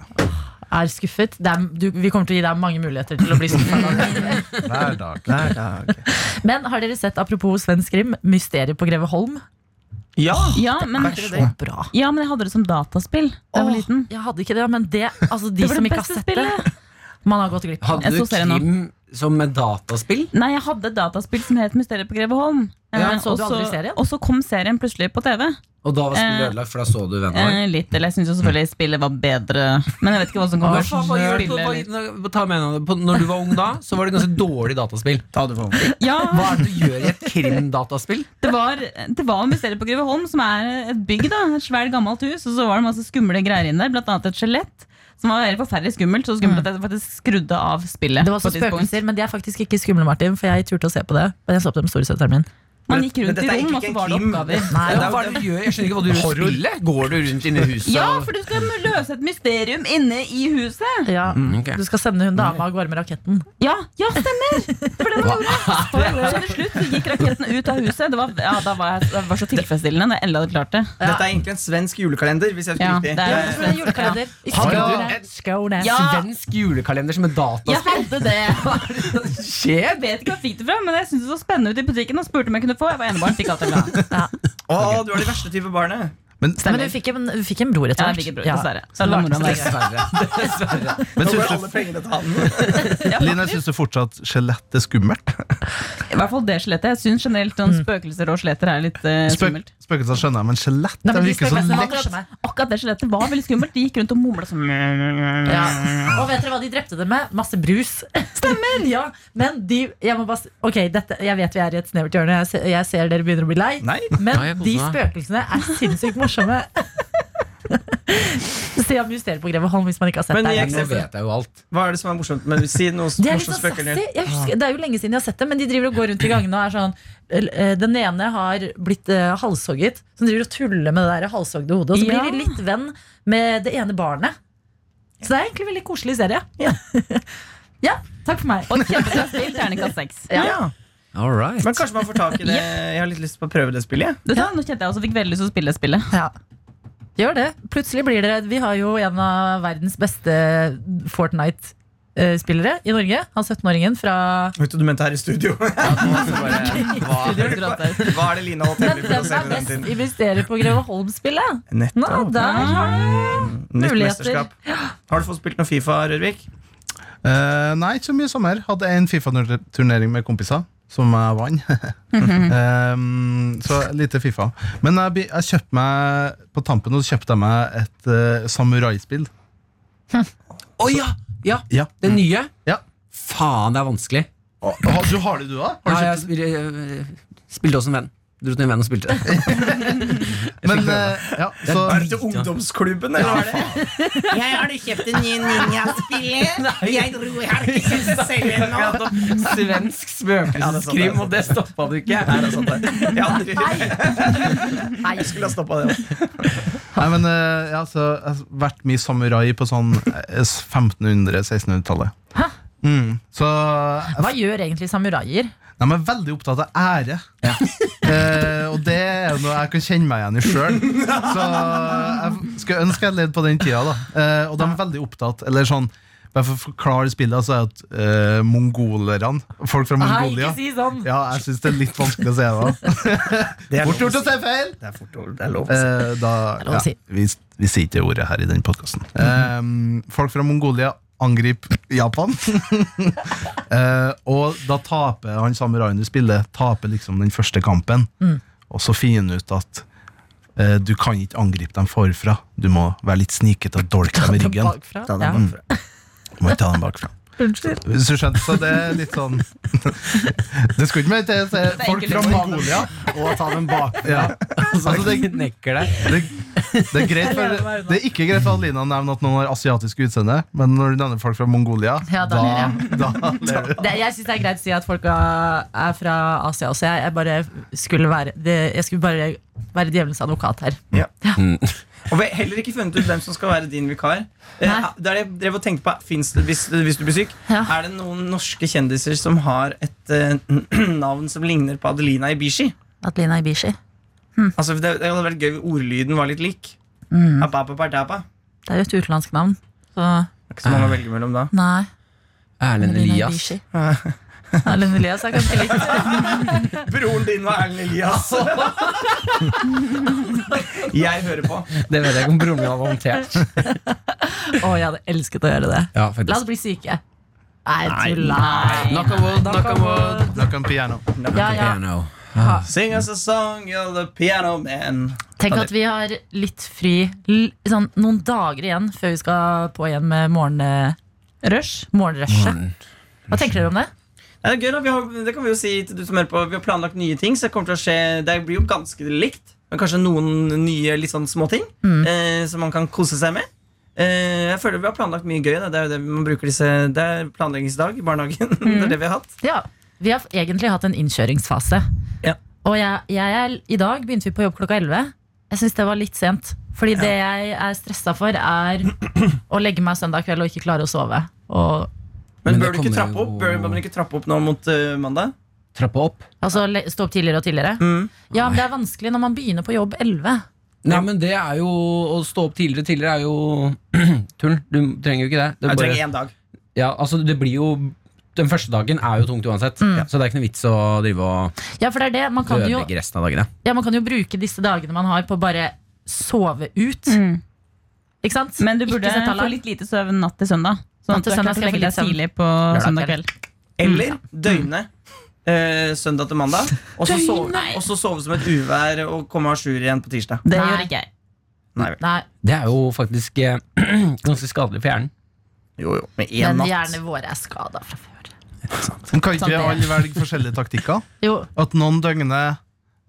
A: Er skuffet? Det er, du, vi kommer til å gi deg mange muligheter til å bli skuffet.
F: Hver dag.
A: Men har dere sett, apropos svensk krim, Mysteriet på Greve Holm?
C: Ja!
D: Ja, men,
A: Så bra.
D: ja, men jeg hadde det som dataspill da jeg var
A: Åh,
D: liten.
A: Jeg hadde ikke det, men det Altså, de
D: Det var
A: som
D: det
A: ikke har
D: beste
A: sett det. Man har gått glipp av
B: Hadde
D: Jeg
B: du
D: så serien nå.
B: Kim som et dataspill?
D: Nei, jeg hadde et dataspill som het Mysteriet på Greveholm.
A: Ja,
D: Eh,
A: så
D: og
A: du aldri serien?
D: og så kom serien plutselig på TV.
B: Og da var spillet
D: Eh,
B: ødelagt, for da så du vennen vår.
D: Eh, litt, eller jeg syns jo selvfølgelig spillet var bedre. Men jeg vet ikke hva som kommer
B: Hva faen, hva gjør du på-
D: Spillet litt.
B: hva- ta med henne. På- Når du var ung da, så var det ganske dårlig dataspill.
C: Ta det for meg.
D: Ja,
B: Hva er det du gjør i et krimdataspill?
D: det var, det var Mysteriet på Greveholm, som er et bygg. da Et svært, gammelt hus. Og så var det masse skumle greier inne der, blant annet et skjelett. Som var veldig forferdelig skummelt, så skummelt at jeg faktisk skrudde av spillet.
A: Det var også
D: på et tidspunkt.
A: spøkelser, men de er faktisk ikke skumle, Martin, for jeg turte å se på det. Men jeg så på det med storesøsteren min.
D: Man gikk rundt
C: dette
D: i
C: er
D: rom,
C: ikke
D: og så
C: en
D: var det
C: krim.
D: oppgaver.
A: Nei,
C: Ja,
B: Ja, hva er det du gjør? Jeg skjønner ikke hva du gjør i spillet. Går du rundt inne i huset?
D: Ja,
B: og-
D: for du skal løse et mysterium inne i huset.
A: Ja.
B: Mm, ok.
A: Du skal sende hun dama av gårde med raketten.
D: Ja, ja stemmer! For det var ordet. Så til slutt så gikk raketten ut av huset. Det var, ja, da var jeg, det var så tilfredsstillende når jeg endelig hadde klart det.
C: Dette er egentlig en svensk julekalender. Hvis jeg husker
D: Ja,
C: riktig
D: det er-
C: Jeg-
A: Det er julekalender. I
B: Har du
A: Skåne.
B: et-
A: Skåne.
D: Ja.
B: Svensk julekalender som er
D: Jeg
B: dataspill?
D: hadde det.
B: Skjer
D: Jeg vet ikke hva jeg fikk det fra, men jeg syntes det så spennende ut i butikken og spurte om jeg kunne få. Jeg var enebarn, fikk alt jeg ville ha.
C: Å, du er det verste type barnet.
F: Men,
A: Men du fikk en, du fikk en bror etter
D: Ja,
A: hvert.
D: jeg fikk et brød,
A: Ja.
D: dessverre.
A: Så det var ikke så
D: Dessverre.
B: Dessverre. Dessverre.
F: men
C: Nå går
F: syns
C: alle
F: du,
C: pengene til han.
F: Line, syns du fortsatt skjelett er skummelt?
D: I hvert fall det skjelettet. Jeg syns generelt noen spøkelser og skjeletter er litt eh,
F: Spøk,
D: skummelt.
F: spøkelser skjønner jeg, men skjelett
A: Nei,
F: det
A: men de
F: virker sånn
A: spøkelsene var
F: lett.
A: morsomme.
D: Akkurat det skjelettet var veldig skummelt. De gikk rundt og mumla sånn.
A: Ja. Og vet dere hva de drepte det med? Masse brus. Stemmer! ja, men de jeg, må bare, s- ok, dette, jeg vet vi er i et snevert hjørne, jeg, ser- jeg ser dere begynner å bli lei.
C: Nei.
A: Men
B: Nei, jeg koser
A: de
B: meg.
A: spøkelsene er sinnssykt morsomme. Se om Mysteriet på Greveholm hvis man ikke har sett
C: Men
A: det.
C: jeg-
B: Men Nå vet jeg jo alt.
C: Hva er det som er morsomt? Men si noe
A: Det er, litt
C: morsomt
A: sånn sassy.
C: spøkende.
A: Jeg husker, det er jo lenge siden jeg har sett det, men de driver og går rundt i gangene og er sånn eh, Den ene har blitt eh, halshogget, så den driver og tuller med det der halshogde hodet. Og så
D: Ja.
A: blir de litt venn med det ene barnet. Så det er egentlig en veldig koselig serie. Ja, takk for meg.
D: Og et kjempetøft spill. Terningkast seks.
C: Ja.
B: All right.
C: Men kanskje man får tak i det. Jeg har litt lyst på å prøve det spillet.
D: Vet du hva, sånn, Nå kjente jeg også fikk veldig lyst til å spille det spillet.
A: Ja. Gjør det. Plutselig blir dere Vi har jo en av verdens beste Fortnite-spillere i Norge. Han 17-åringen fra
C: Vet du, du mente her i studio.
B: Hva-
D: Det er gratis.
C: Hva er det Lina holdt
A: Men
C: hemmelig for å se
A: hvem er
C: på den
A: best
C: tiden?
A: i Mysteriet på Greveholm-spillet? Nå, der har du
C: Nytt
A: muligheter.
C: mesterskap. Har du fått spilt noe Fifa, Rørvik?
F: Eh, nei, ikke så mye sommer. Hadde en Fifa-turnering med kompiser, som jeg vant. Eh, så lite Fifa. Men jeg, bi- jeg kjøpte meg på tampen og kjøpte jeg meg et uh, samuraispill.
B: Å ja! ja.
F: Ja.
B: Det nye?
F: Ja.
B: Faen, det er vanskelig.
F: Å, ha- du har det, du òg?
B: Ja, jeg spil, eh, spilte også en venn. Dro til en venn og spilte. Jeg
F: Men
B: fikk prøve.
F: eh, ja,
B: bare-
F: så,
C: Er det til ungdomsklubben, eller hva er det?
G: Jeg har du kjøpt en ny ninjaspiller. Jeg dro jeg har ikke kjøpt den selv ennå.
B: Akkurat om Svensk spøkelseskrim, og det sånn, stoppa du ikke.
C: Nei, det er sant det. Jeg aldri- Jeg skulle ha stoppa det.
F: nei, men, eh, ja, så jeg har vært mye samurai på sånn 1500-1600-tallet. Mm, så jeg
A: Hva gjør egentlig samuraier?
F: De er veldig opptatt av ære. Eh, og det er jo noe jeg kan kjenne meg igjen i sjøl. Så eh, jeg skulle ønske jeg levde på den tida. da eh, Og de er veldig opptatt Eller sånn bare for å forklare spillet, så er det at eh, mongolerne Folk fra
A: Nei,
F: Mongolia
A: ikke si sånn!
F: Ja, jeg syns det er litt vanskelig å se det.
C: Det er lov
F: Fort gjort
C: å
F: å
C: si.
F: se feil!
C: Det er fort gjort, det er lov å si.
F: Eh, da,
A: Det er lov å
F: ja,
A: si.
F: vi, vi sier ikke ordet her i den podkasten. Eh, folk fra Mongolia angriper Japan. eh, og da taper han samuraien du spiller, taper liksom den første kampen. Og så finner han ut at eh, du kan ikke angripe dem forfra. Du må være litt snikete og dolke dem i ryggen. Mm.
A: Bakfra.
C: Ta
A: Ja.
C: den bakfra.
F: Du må ikke ta dem bakfra.
A: Unnskyld.
F: Hvis du skjønte, så det er litt sånn Det skulle ikke mer til. så er Folk fra Mongolia
B: Og ta dem bakfra.
F: ja.
B: Så
F: Altså, det,
B: knekker deg.
F: det, det, er greit
A: Jeg lever
F: for,
A: meg unna.
F: det er ikke greit for Adelina å nevne at noen har asiatisk utseende, men når du nevner folk fra Mongolia,
A: Ja, da
F: da,
A: ler
F: da ler du.
A: Det, jeg syns det er greit å si at folk er er fra Asia også. Jeg, jeg bare skulle være det, Jeg skulle bare være djevelens advokat her.
C: Og vi har heller ikke funnet ut hvem som skal være din vikar. Eh,
A: Nei.
C: Det er det jeg drev og tenkte på finnes det, hvis, hvis du blir syk.
A: Ja.
C: Er det noen norske kjendiser som har et eh, navn som ligner på Adelina Ibishi?
A: Adelina Ibishi.
C: Altså, det, det hadde vært gøy hvis ordlyden var litt lik.
A: Mm.
C: Ah, Abababadaba.
A: Det er jo et utenlandsk navn. Så
C: Det er ikke så mange å velge mellom da.
A: nei.
B: Erlend
A: Adelina
B: Elias.
A: Ibishi. Erlend Elias er ganske likt.
C: Broren din var Erlend Elias. jeg hører på.
B: Det vet jeg ikke om broren min hadde håndtert.
A: Å, jeg hadde elsket å gjøre det.
B: Ja,
A: La
B: faktisk.
A: oss bli syke. Nei, tulla.
B: Knock on wood, knock on wood.
F: Da kan piano.
A: Ja, ja.
B: Piano.
C: Sing us a song, you're the piano man.
A: Tenk at vi har litt fri l- sånn, noen dager igjen før vi skal på igjen med morgen, eh,
D: Rush.
A: morgenrushet. Hva tenker dere om det?
C: Ja, det, er gøy, da. Vi har, det kan vi jo si til du som hører på. Vi har planlagt nye ting, så det kommer til å skje Det blir jo ganske likt. Men kanskje noen nye litt sånn småting eh, som man kan kose seg med. Eh, jeg føler vi har planlagt mye gøy. Da. Det er jo det man bruker disse Det er planleggingsdag i barnehagen. det er det vi har hatt.
A: Ja, Vi har egentlig hatt en innkjøringsfase.
C: Ja.
A: Og jeg, jeg er, I dag begynte vi på jobb klokka 11. Jeg syns det var litt sent. Fordi det jeg er stressa for, er å legge meg søndag kveld og ikke klare å sove. Og,
C: Men, bør
B: Men
C: du
B: det
C: ikke
B: kommer
C: trappe opp?
B: jo-
C: Bør, bør man ikke trappe opp nå mot eh, mandag?
B: Trappe opp.
A: altså le- stå opp tidligere og tidligere.
D: Mm.
A: Ja, men det er vanskelig når man begynner på jobb 11.
B: Nei, men det er jo Å stå opp tidligere tidligere er jo tull. Du trenger jo ikke det.
C: Jeg
B: det er bare-
C: trenger én dag.
B: ja, altså, det blir jo Den første dagen er jo tungt uansett, så det er ikke noe vits å drive og
A: Ja, for det er det. Man Mm. kan jo,
B: ødelegge resten av dagene.
A: ja, man kan jo bruke disse dagene man har, på å bare sove ut.
D: Mm.
A: Ikke sant?
D: Men du burde
A: ikke sette
D: få
A: alarm.
D: litt lite søvn natt til søndag. Sånn
A: Natt
D: at
A: til
D: du
A: søndag
D: kan
A: skal jeg
D: legge deg
A: få litt
D: tidlig på søndag kveld.
B: Mm.
C: Eller døgne. eh, søndag til mandag. Og så sove,
D: Døgne!
C: og så sove som et uvær og komme à jour igjen på tirsdag.
D: Det
A: Nei.
D: gjør ikke jeg.
C: Nei vel.
A: Nei,
B: Det er jo faktisk eh, ganske skadelig for hjernen.
C: Jo, jo. Med én
A: men
C: natt.
A: hjernene våre er skada fra før.
F: Men kan
A: Sant,
F: ikke
C: Sånn
A: det
F: vi
A: er.
F: alle velge forskjellige taktikker?
A: Jo,
F: At noen døgner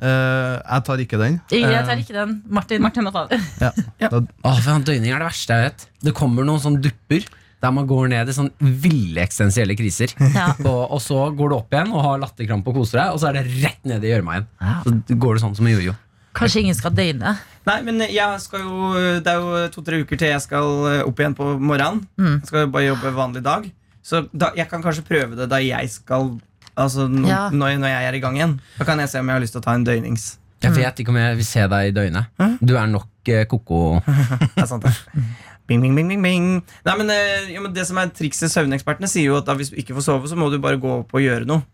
F: eh, Jeg tar ikke den.
A: Ingrid, jeg tar ikke den. Martin.
D: Martin må ta det.
F: Ja. Da,
B: Åh, for han Døgning er det verste jeg vet. Det kommer noen sånne dupper der man går ned i sånne ville eksistensielle kriser.
A: Ja.
B: Og, og så går du opp igjen og har latterkrampe og koser deg, og så er det rett ned i gjørma igjen. Så går det sånn som en jojo.
A: Kanskje ingen skal døgne.
C: Nei, men jeg skal jo Det er jo to-tre uker til jeg skal eh, opp igjen på morgenen.
B: Mm.
C: Jeg skal jo bare jobbe vanlig dag. Så da, jeg kan kanskje prøve det da jeg skal Altså no,
A: Ja.
C: når, når jeg er i gang igjen. Da kan jeg se om jeg har lyst til å ta en døgnings.
A: Mm.
B: Jeg vet ikke om jeg vil se deg i døgnet. Du er nok eh, koko.
C: Det er sant, det.
B: Mm.
C: Bing, bing, bing, bing, bing. Nei, men, eh, jo, men det som er trikset Søvnekspertene sier jo at da, hvis du ikke får sove, så må du bare gå opp og gjøre noe.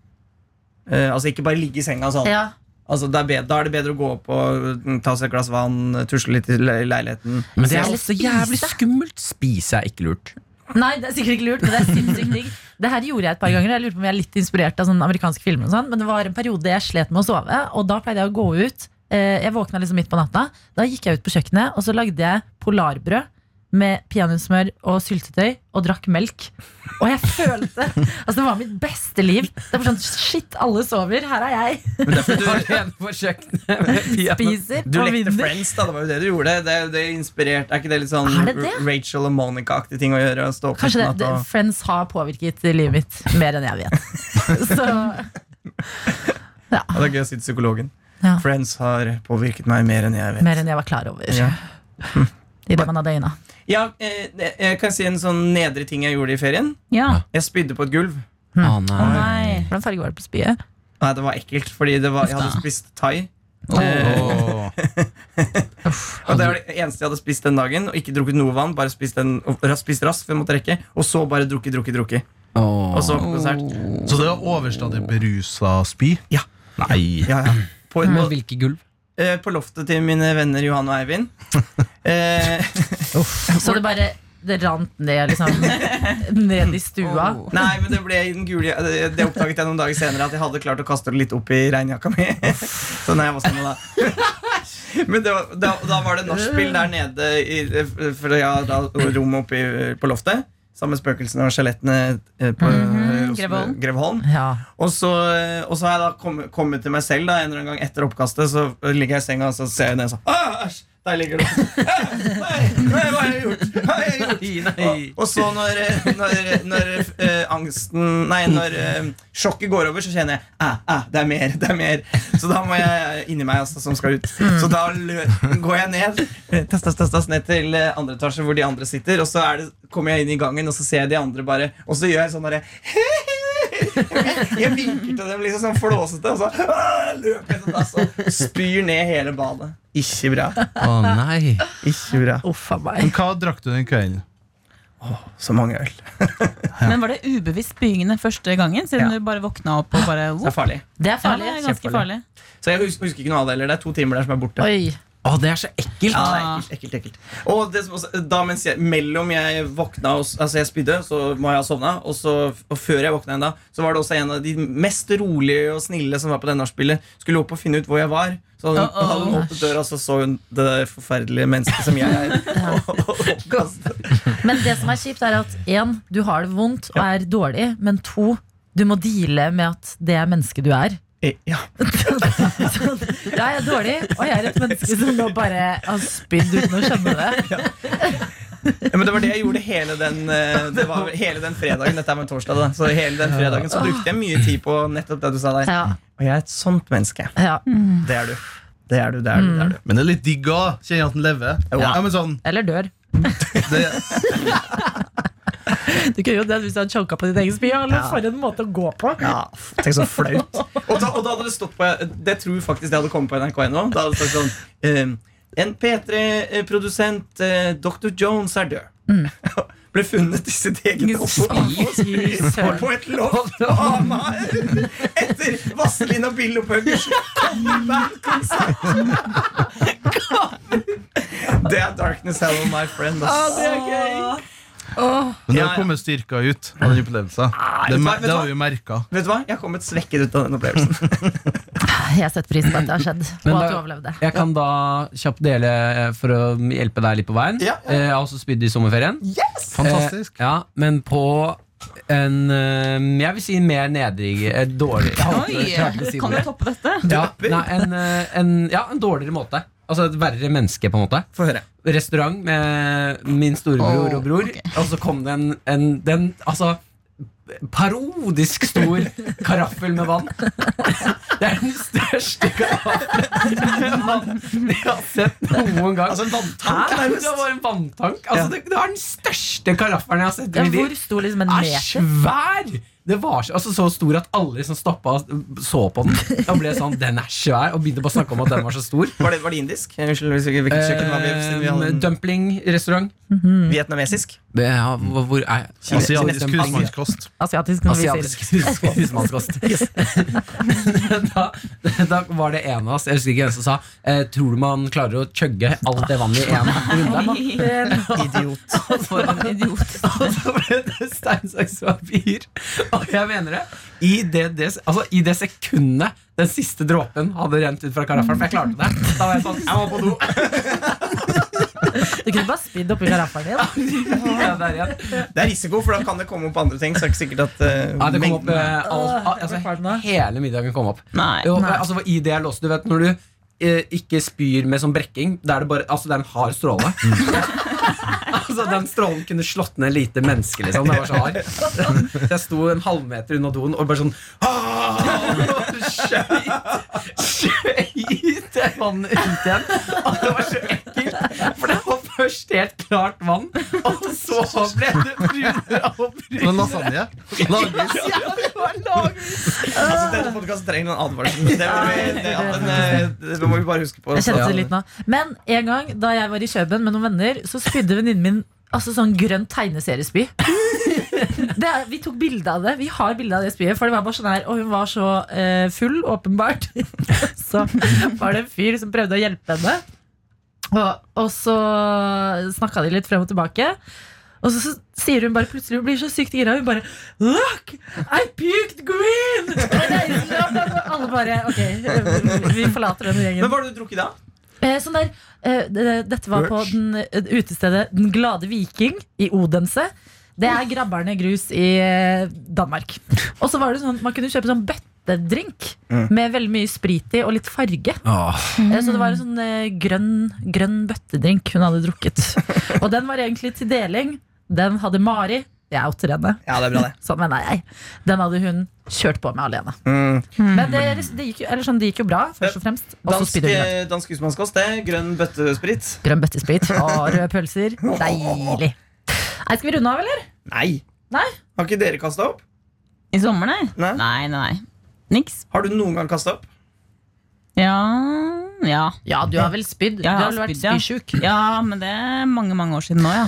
C: Eh, altså Ikke bare ligge i senga. Sånn.
A: Ja.
C: Altså, det er bedre, da er det bedre å gå opp og mm, ta seg et glass vann, tusle litt i le- i leiligheten.
B: Men det er
A: Eller
B: også jævlig
A: spise.
B: skummelt. Spise er ikke lurt.
A: Nei, det er sikkert ikke lurt, men det er sinnssykt digg. Det her gjorde jeg et par ganger. Jeg lurer på om jeg er litt inspirert av sånne amerikanske filmer. og sånn Men det var en periode jeg slet med å sove, og da pleide jeg å gå ut. Eh, Jeg våkna liksom midt på natta. Da gikk jeg ut på kjøkkenet, og så lagde jeg polarbrød med peanøttsmør og syltetøy og drakk melk. Og jeg følte Altså, det var mitt beste liv. Det var sånn Shit, alle sover. Her er jeg.
C: Men derfor du,
B: Alene på kjøkkenet med piano.
A: Spiser
C: du
A: og
C: lekte
A: vinner.
C: Friends, da. Det var jo det du gjorde. Det, er jo- det er inspirert, Er ikke det litt sånn
A: Er det det?
C: R- Rachel og Monica-aktig ting å gjøre? Å stå opp
A: Kanskje det,
C: midt på
A: det,
C: natta og-
A: Friends har påvirket livet mitt mer enn jeg vet. Så
C: Ja, det er gøy å si til psykologen.
A: Ja.
C: Friends har påvirket meg mer enn jeg vet.
A: mer enn jeg var klar over.
C: Ja.
A: I det man hadde øyna.
C: Ja, eh, det- jeg kan si en sånn nedre ting jeg gjorde i ferien.
D: Ja.
C: Jeg spydde på et gulv.
B: Å nei.
D: Nei.
A: Hvordan farge var det på spyet?
C: Nei, det var ekkelt, fordi det var, jeg hadde spist thai. Eh,
F: Åh.
C: Og Det var det eneste jeg hadde spist den dagen. Og ikke drukket noe vann, bare spist, en, og ras- spist raskt, for jeg måtte rekke. Og så bare drukket, drukket, drukket.
B: Åh.
C: Og så på konsert.
F: Så det er overstadig berusa spy?
C: Ja.
F: Nei.
C: Ja, ja. På,
B: Men
C: på,
B: hvilke gulv?
C: eh, på loftet til mine venner Johan og Eivind. Eh,
A: Så det bare det rant ned, liksom. Ned i stua.
C: nei, men det ble i den gule Det det oppdaget jeg noen dager senere, at jeg hadde klart å kaste det litt opp i regnjakka mi. Så nei, hva skal man sånn, da? Men det var, da, da var det nachspiel der nede i, For jeg har da rommet oppe i- på loftet. Sammen med spøkelsene og skjelettene eh, på Ros-
D: Greveholm.
C: Greveholm.
A: Ja.
C: Og så, eh, og så har jeg da kommet, kommet til meg selv da, en eller annen gang etter oppkastet. Så ligger jeg i senga og så ser jeg ned og sånn «Åh, Æsj! Der ligger du. «Æh, Nei, nei, hva har jeg gjort? Hva har jeg gjort? Og, og så når, eh, når, når eh, angsten Nei, når eh, sjokket går over, så kjenner jeg æ, æ, det er mer, det er mer. Så da må jeg inni meg altså, som skal ut. Så da lø går jeg ned eh, tass, tass, tass, tass, ned til eh, andre etasje, hvor de andre sitter. Og så er det, kommer jeg inn i gangen, og så ser jeg de andre bare Og så gjør jeg sånn derre jeg vinker til dem liksom sånn flåsete, og så «Åh!» løper jeg til dass og spyr ned hele badet. Ikke bra.
B: Å nei.
C: Ikke bra.
A: Uff a meg.
F: Men hva drakk du den kvelden?
C: Så mange øl.
D: Men var det ubevisst spyingene første gangen? Siden
C: Ja.
D: du bare våkna opp og bare
C: Det er farlig.
A: Det er
D: Ja, det
A: farlig.
D: er ganske farlig.
C: Kjempefarlig. Så jeg hus- husker ikke noe av det heller. Det er to timer der som er borte.
A: Oi.
B: Å, det er så ekkelt.
C: Ja, det er ekkelt, ekkelt, ekkelt. Og det som også, da mens jeg, mellom jeg våkna og s- Altså jeg spydde, så må jeg ha sovna. Og, så, og før jeg våkna ennå, så var det også en av de mest rolige og snille som var på det nachspielet, skulle opp og finne ut hvor jeg var. Så hun,
D: Uh-oh.
C: hadde hun åpnet døra, og så så hun det der forferdelige mennesket som jeg er. Og, og, oppkastet.
A: Men det som er kjipt, er at én, du har det vondt og er dårlig. Men to, du må deale med at det er mennesket du er.
C: Eh, ja.
A: Sånn, ja, jeg er dårlig, og jeg er et menneske som nå bare har spydd uten å skjønne det.
C: Ja, men det var det jeg gjorde hele den, eh, det var hele den fredagen. Dette er med torsdag, da. Så hele den fredagen så brukte jeg mye tid på nettopp det du sa der.
A: Ja.
C: Og Og jeg er et sånt menneske.
A: Ja.
C: Det er du. Det er du, det er du. Det er du.
F: Men det er litt digg òg. Kjenner at den lever. Ja, men sånn,
A: Eller dør.
F: det,
A: Du kunne gjort det hvis du hadde choka på ditt eget spy. Eller for en måte å gå på.
C: Ja, f- Tenk så flaut. Og da, og da hadde det stått på Det tror jeg faktisk det hadde kommet på NRK1 Da hadde det stått sånn ehm, En P3-produsent, eh, Dr. Jones, er død. Ble funnet i sitt eget
A: Fy
C: opphold
A: søren.
C: på et loft på Hamar etter Vazelina Billopphøggers coverbandkonsert! Det er Darkness Hello, my friend. Ass.
A: Det er gøy.
F: men
C: Ja,
F: det har
C: ja.
F: kommet styrka ut av den opplevelsen.
C: vet
F: Det,
C: du hva,
F: mer-
C: vet du
F: det
C: hva?
F: har vi merka.
C: Vet du hva? Jeg har kommet svekket ut av den opplevelsen.
A: Jeg setter pris på at det har skjedd, og
B: Men
A: at
B: da-
A: du overlevde.
B: Jeg kan da kjapt dele eh, for å hjelpe deg litt på veien.
C: Ja, ja.
B: Eh, Jeg har også spydd i sommerferien.
F: Fantastisk.
B: Eh, ja, men på en eh, Jeg vil si mer nedrig eh, Dårlig. Jeg hater
D: Oi,
B: jeg hater å si
D: kan du
B: ordet.
D: toppe dette?
B: ja, nei, en, eh, en, ja, en dårligere måte. Altså et verre menneske, på en måte.
C: Få høre.
B: Restaurant med min storebror
D: Åh,
B: og bror, og så kom det en, en den, altså, parodisk stor karaffel med vann. Det er den største karaffelen med vann jeg har sett noen gang.
C: Altså en vanntank,
B: Hæ?
C: nærmest.
B: det var en vanntank. Altså,
C: Ja.
B: det, det var den største karaffelen jeg har sett i
A: Ja,
B: mitt liv.
A: hvor stor liksom en
B: Den er
A: meter?
B: svær! Det var så- altså, så stor at alle som stoppa, så på den. Og ble sånn, den er svær Og begynte bare å snakke om at den var så stor.
C: Var det, var det indisk? Eh, Unnskyld, hvis ikke- hvilket kjøkken var vi siden vi
B: Eh,
C: hadde
B: Dumplingrestaurant.
C: en vietnamesisk?
B: Det er- Hvor hvor er
F: Asiatisk
B: Dumpling-
F: husmannskost.
A: Asiatisk, som vi sier.
B: Asiatisk hus- husmannskost. Men da, da var det en av oss, jeg husker ikke hvem som sa, eh, tror du man klarer å chugge alt det vannet i én runde?
C: Idiot.
B: Og så-
D: Idiot.
B: Og så ble det stein, saks, papir. Og jeg mener det. I det, det, altså, i det sekundet den siste dråpen hadde rent ut fra karaffelen, for jeg klarte det, da var jeg sånn Jeg må på do.
A: Du kunne bare spydd oppi karaffelen din.
B: Jeg er der igjen.
C: Det er risiko, for da kan det komme opp andre ting. Så er det ikke sikkert at eh,
B: Ja, det kom opp
C: mengden-
B: eh, alt, al- altså, Hele middagen kom opp.
D: Nei.
B: Jo, altså, I det jeg låste, du vet når du eh, ikke spyr med sånn brekking, da er det bare Altså, det er en hard stråle. altså, den strålen kunne slått ned lite menneske, liksom. Den var så hard. Så jeg sto en halvmeter unna doen og bare sånn «Åh!» Skjøyt Skjøyt det vannet ut igjen. Og det var så ekkelt, for det var først helt klart vann, og så ble det brunere og
F: Og en
B: brunere.
F: lasagne. Lages.
B: Ja, det var laget.
C: Altså, Denne podkasten trenger noen advarsel. Det, må vi- det, at den, eh, det må vi bare huske på.
A: Jeg kjente det litt nå. Men en gang da jeg var i Kjøben med noen venner, så spydde venninnen min altså sånn grønn tegneseriespy. Det er, vi tok bilde av det. Vi har bilde av det spyet. For det var bare sånn her, og hun var så eh, full, åpenbart. så var det en fyr som prøvde å hjelpe henne. Og, og så snakka de litt frem og tilbake. Og så, så sier hun bare plutselig Hun blir så sykt gira. Hun bare Look! I puked green! Og alle bare Ok, vi forlater den gjengen.
C: Men hva har du drukket da?
A: Eh, sånn der, eh, det- dette var på den, eh, utestedet Den glade viking i Odense. Det er grabberne grus i eh, Danmark. Og så var det sånn, Man kunne kjøpe sånn bøttedrink med veldig mye sprit i og litt farge. Eh, Så det var en sånn eh, grønn, grønn bøttedrink hun hadde drukket. Og den var egentlig til deling. Den hadde Mari. Jeg outer henne.
C: Ja, det er bra, det.
A: Sånn mener jeg. Den hadde hun kjørt på med alene.
C: Mm.
A: Men det, det, gikk, jo- eller sånn, det gikk jo bra, først og fremst. Og så
C: Dansk,
A: spydde hun grønt.
C: eh, dansk husmannskost, det. er Grønn bøttesprit.
A: Grønn bøttesprit og røde pølser. Deilig. Nei, skal vi runde av, eller?
C: Nei.
A: Nei.
C: Har ikke dere kasta opp?
D: I sommer, nei?
C: Nei.
D: Nei, nei, nei. Niks.
C: Har du noen gang kasta opp?
D: Ja, ja.
A: Ja, du har vel spydd. du
D: Ja, jeg
A: har vel
D: har
A: vært
D: spydd, ja.
A: spysjuk.
D: Ja, men det er mange mange år siden nå, ja.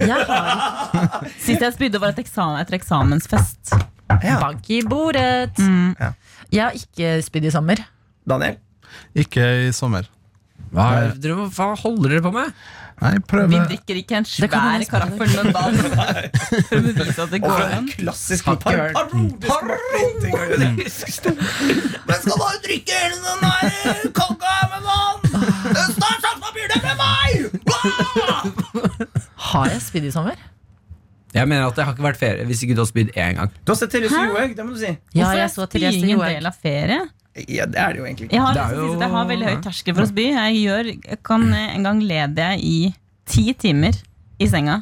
A: Jeg har
D: Sist jeg spydde, var et eksamen, etter eksamensfest.
A: bank i bordet.
C: Ja.
A: Mm. Jeg har ikke spydd i sommer.
C: Daniel?
F: Ikke i sommer.
B: Hva, er- dere, hva holder dere på med?
F: Nei,
D: Vi
F: prøver.
D: drikker ikke en
A: Det kan man
D: svær karaffel med vann. For å bevise at det går an.
C: klassisk
B: par-
C: parodisk Martin-ting å gjøre. Men skal bare drikke hele den der kolka med vann! Snart sjansepapir, det med meg!
A: Har jeg spydd i sommer?
B: Jeg mener at jeg har ikke vært ferie hvis ikke du har spydd én gang.
C: Du har sett Therese Johaug, det må du si.
A: Ja,
D: Hvorfor
A: jeg
D: er
A: så
D: spying
A: Therese
D: en
A: Johaug.
D: del av ferie?
C: Ja, det er det jo egentlig ikke.
D: Jeg har,
B: Det er
D: liksom
B: jo-
D: sist, jeg har veldig høy terskel for å spy. Jeg gjør, jeg kan, en gang led jeg i ti timer i senga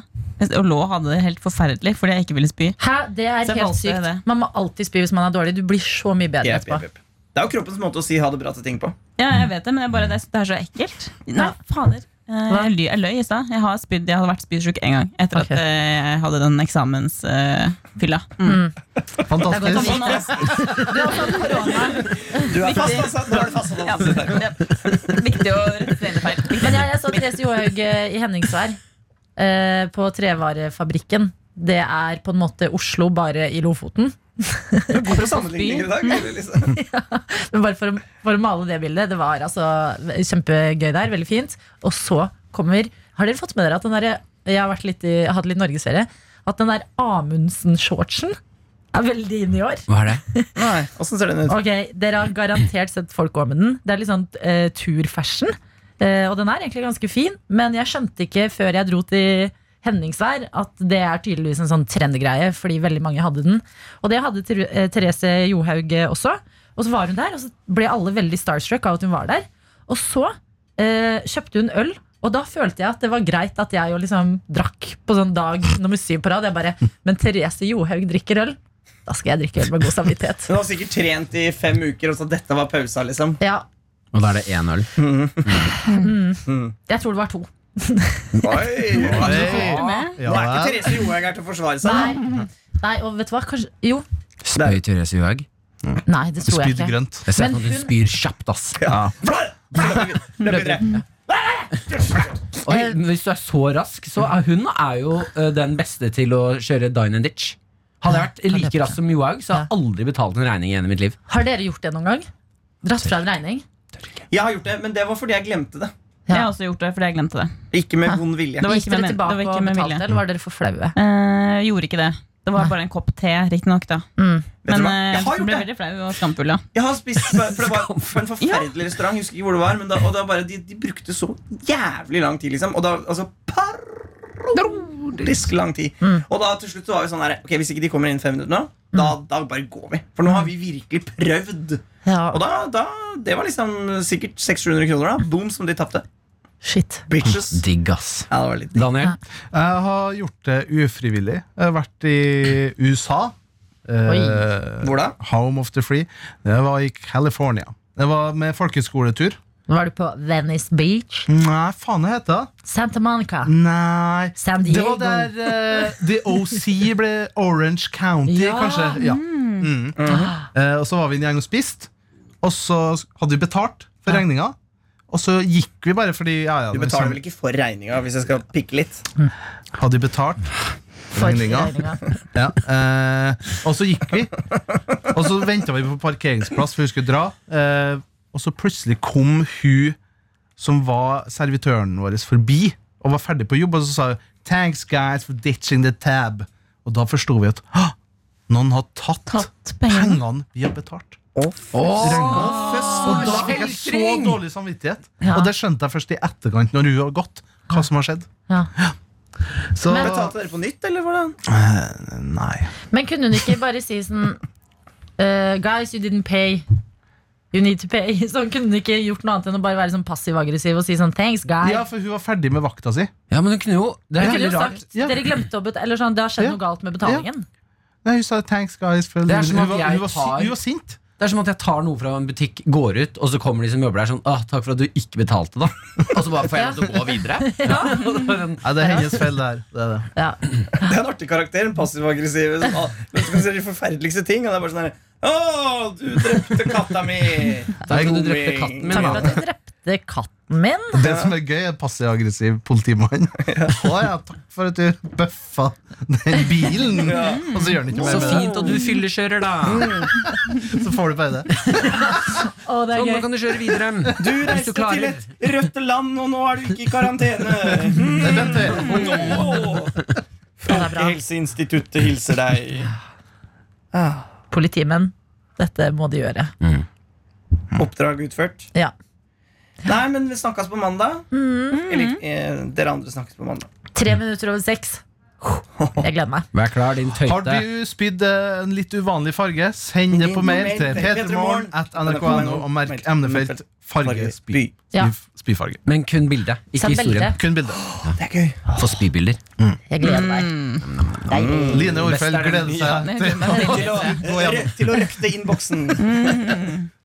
D: og lå og hadde det helt forferdelig fordi jeg ikke ville spy.
A: Hæ, det er
D: Så jeg
A: helt
D: valgte
A: sykt.
D: det.
A: Man må alltid spy hvis man er dårlig. Du blir så mye bedre
C: Jepp,
A: etterpå.
C: jepp, jepp. Det er jo kroppens måte å si ha det bra til ting på.
D: Ja, jeg vet det, men jeg bare, det, er, det er så ekkelt. Nei, fader. Eh, Jeg, ly, jeg løy i stad. Jeg har spydd, jeg hadde vært spydsjuk én gang etter
A: Ok.
D: at eh, jeg hadde den eksamensfylla. Mm.
C: Mm.
A: Det er
F: Fantastisk.
A: godt å vite.
C: Du er fast, altså. Nå er du fast, altså.
D: Viktig å rettslegge feil.
A: Men jeg, jeg så Therese Johaug eh, i Henningsvær eh, på Trevarefabrikken. Det er på en måte Oslo, bare i Lofoten.
C: Hvorfor sammenligninger i dag? eller Liksom.
A: Men bare for, å- for å male det bildet. Det var altså kjempegøy der. Veldig fint. Og så kommer Har dere fått med dere at den der, jeg har vært litt i, hatt litt norgesferie? At den der Amundsen-shortsen er veldig inn i år.
B: Hva er det?
C: Nei, Åssen ser den ut?
A: Ok, Dere har garantert sett folk gå med den. Det er litt sånn eh, turfashion. Eh, og den er egentlig ganske fin, men jeg skjønte ikke før jeg dro til Henningsvær at det er tydeligvis en sånn trendgreie, fordi veldig mange hadde den. Og det hadde Ther- eh, Therese Johaug eh, også. Og så var hun der, og så ble alle veldig starstruck av at hun var der. Og så eh, kjøpte hun øl, og da følte jeg at det var greit at jeg jo liksom drakk på sånn dag nummer syv på rad. Jeg bare Men Therese Johaug drikker øl. Da skal jeg drikke øl med god samvittighet.
C: Hun har sikkert trent i fem uker, og så dette var pausa, liksom.
A: Ja,
B: Og da er det én øl.
A: Jeg tror det var to.
C: Oi.
F: Ja,
C: Nå er ikke
F: vel.
C: Therese Johaug her til å forsvare seg.
A: Nei. Nei, og vet du hva? Kanskje, jo.
B: Spøy Therese Johaug.
A: Nei, det tror jeg
F: Spydd
A: ikke.
F: grønt.
B: Jeg ser
A: Men
B: at du
A: hun-
B: spyr kjapt, ass.
C: Det er bedre.
B: Oi, men hvis du er så rask, så er hun er jo ø, den beste til å kjøre dine and ditch. Hadde jeg vært like rask som Johaug, så hadde jeg aldri betalt en regning igjen i mitt liv.
A: Har dere gjort det noen gang? Dratt fra en regning?
C: Jeg har gjort det, men det var fordi jeg glemte det.
D: Jeg har også gjort det fordi jeg glemte det.
C: Ikke med vond vilje.
D: Det var
A: Gikk
D: ikke med
A: dere
D: men- det
A: tilbake
D: var ikke
A: og
D: med
A: betalte,
D: vilje.
A: eller var dere for flaue?
D: Eh, gjorde ikke det. Det var bare en kopp te, riktignok. da.
C: Vet
D: Men
C: du hva?
D: eh,
C: Mm. Jeg har
D: ble
C: gjort det!
D: veldig flau og skamfull. Ja.
C: Jeg har spist For det var på en forferdelig restaurant. Jeg husker ikke hvor det var men da, og da bare, de, de brukte så jævlig lang tid, liksom. Og da, altså Parodisk lang tid.
D: Mm.
C: Og da til slutt så var vi sånn her Ok, Hvis ikke de kommer innen fem minutter nå, da, da bare går vi. For nå har vi virkelig prøvd. Og
A: Ja,
C: da, da Det var liksom sikkert 600-700 kroner, da. Boom, som de tapte.
A: shit.
C: Bitches.
B: Digg, ass.
C: Ja, det var litt
B: Daniel,
F: Jeg har gjort det ufrivillig. Jeg har vært i USA. Eh,
C: Hvor da?
F: Home of the free. Det var i California. Det var med folkehøyskoletur.
A: Var du på Venice Beach?
F: Nei, faen hva heter det?
A: Santa Monica?
F: Mm, Nei
A: San
F: Det
A: Diego?
F: var der eh, The OC ble Orange County,
A: Ja. Ah.
F: kanskje. Ja. Mm. Eh, og så var vi en gjeng og spiste, og så hadde vi betalt for regninga. Og så gikk vi bare fordi ja, ja,
C: Du
F: men
C: betaler
F: så
C: vel ikke for regninga, hvis jeg skal pikke litt?
F: Hadde vi betalt
A: For
F: regninga.
A: regninga.
F: Ja, eh, og så gikk vi. Og så venta vi på parkeringsplass, for vi skulle dra. Eh, og så plutselig kom hun som var servitøren vår, forbi og var ferdig på jobb. Og så sa hun 'Thanks, guys, for ditching the tab'. Og da forsto vi at «Hå! noen har tatt,
D: Tatt pengene.
F: pengene vi har betalt.
C: Og
F: Da fikk jeg så dårlig samvittighet. Og det skjønte jeg først i etterkant, når hun har gått. Hva som har skjedd.
A: Ja.
F: Så
C: Betalte dere på nytt, eller hvordan?
F: Nei.
A: Men kunne hun ikke bare si sånn eh, Guys, you didn't pay. You need to pay. Sånn kunne hun ikke gjort noe annet enn å bare være sånn passiv-aggressiv og si sånn thanks, guys.
F: Ja, for hun var ferdig med vakta si.
B: ja, men hun kunne jo Det er
A: Hun kunne
B: veldig
A: jo
B: rart.
A: sagt
F: Ja.
A: dere glemte å betale, eller sånn, det har skjedd
F: Ja.
A: noe galt med betalingen.
F: Nei, hun sa 'thanks, guys'. For
B: Det er som
F: hun,
B: at
F: var,
B: jeg
F: hun, var,
B: tar-
F: si- hun var sint.
B: Det er som at jeg tar noe fra en butikk, går ut, og så kommer de som jobber der sånn Åh, 'Takk for at du ikke betalte, da.' Og så bare får jeg lov til å gå videre.
F: Nei, det er hennes feil der. Det er det.
A: Ja.
C: Det er en artig karakter. En passiv-aggressiv. som all- Men så kan du se de forferdeligste ting. Og det er bare sånn her Å, du drepte katta mi!
B: Takk for at du drepte katten min.
A: Takk for at du drepte katten min.
F: Det som er gøy, er passiv-aggressiv politimann. Å ja, takk for at du bøffa den bilen!
C: Ja.
F: Og så gjør han ikke
B: Så
F: mer med
B: fint at du fyllekjører, da.
F: det. Så får du bare det.
A: Å, det
B: Sånn, nå
A: er gøy.
B: kan du kjøre videre.
C: Du
B: Hvis du
C: reiste til
B: klarer.
C: et rødt land, og nå er du ikke i karantene!
F: Det er vent, det.
C: Nå!
A: Det er bra.
C: Folkehelseinstituttet hilser deg.
A: Politimenn, dette må de gjøre.
C: Oppdrag utført.
A: Ja.
C: Nei, men vi snakkes på mandag. Eller eh, dere andre snakkes på mandag.
A: Tre minutter over seks. Jeg gleder meg.
B: Vær klar, din
F: Har
B: tøyte.
F: du spydd eh, en litt uvanlig farge, send det på mail til
C: Petremorgen.
F: p3morgen.nrk.no og merk emnefelt farge spy.
A: Ja.
F: Spy- Spyfarge.
B: Men kun bildet, ikke
A: Send bilde.
B: historien.
F: Kun bilde.
C: Det er gøy.
B: Få spybilder.
A: Jeg gleder meg.
B: Mm.
F: Line Orfeld
B: Best er den
F: gleder seg
D: nye.
F: til
C: Til å, til å røkte inn boksen.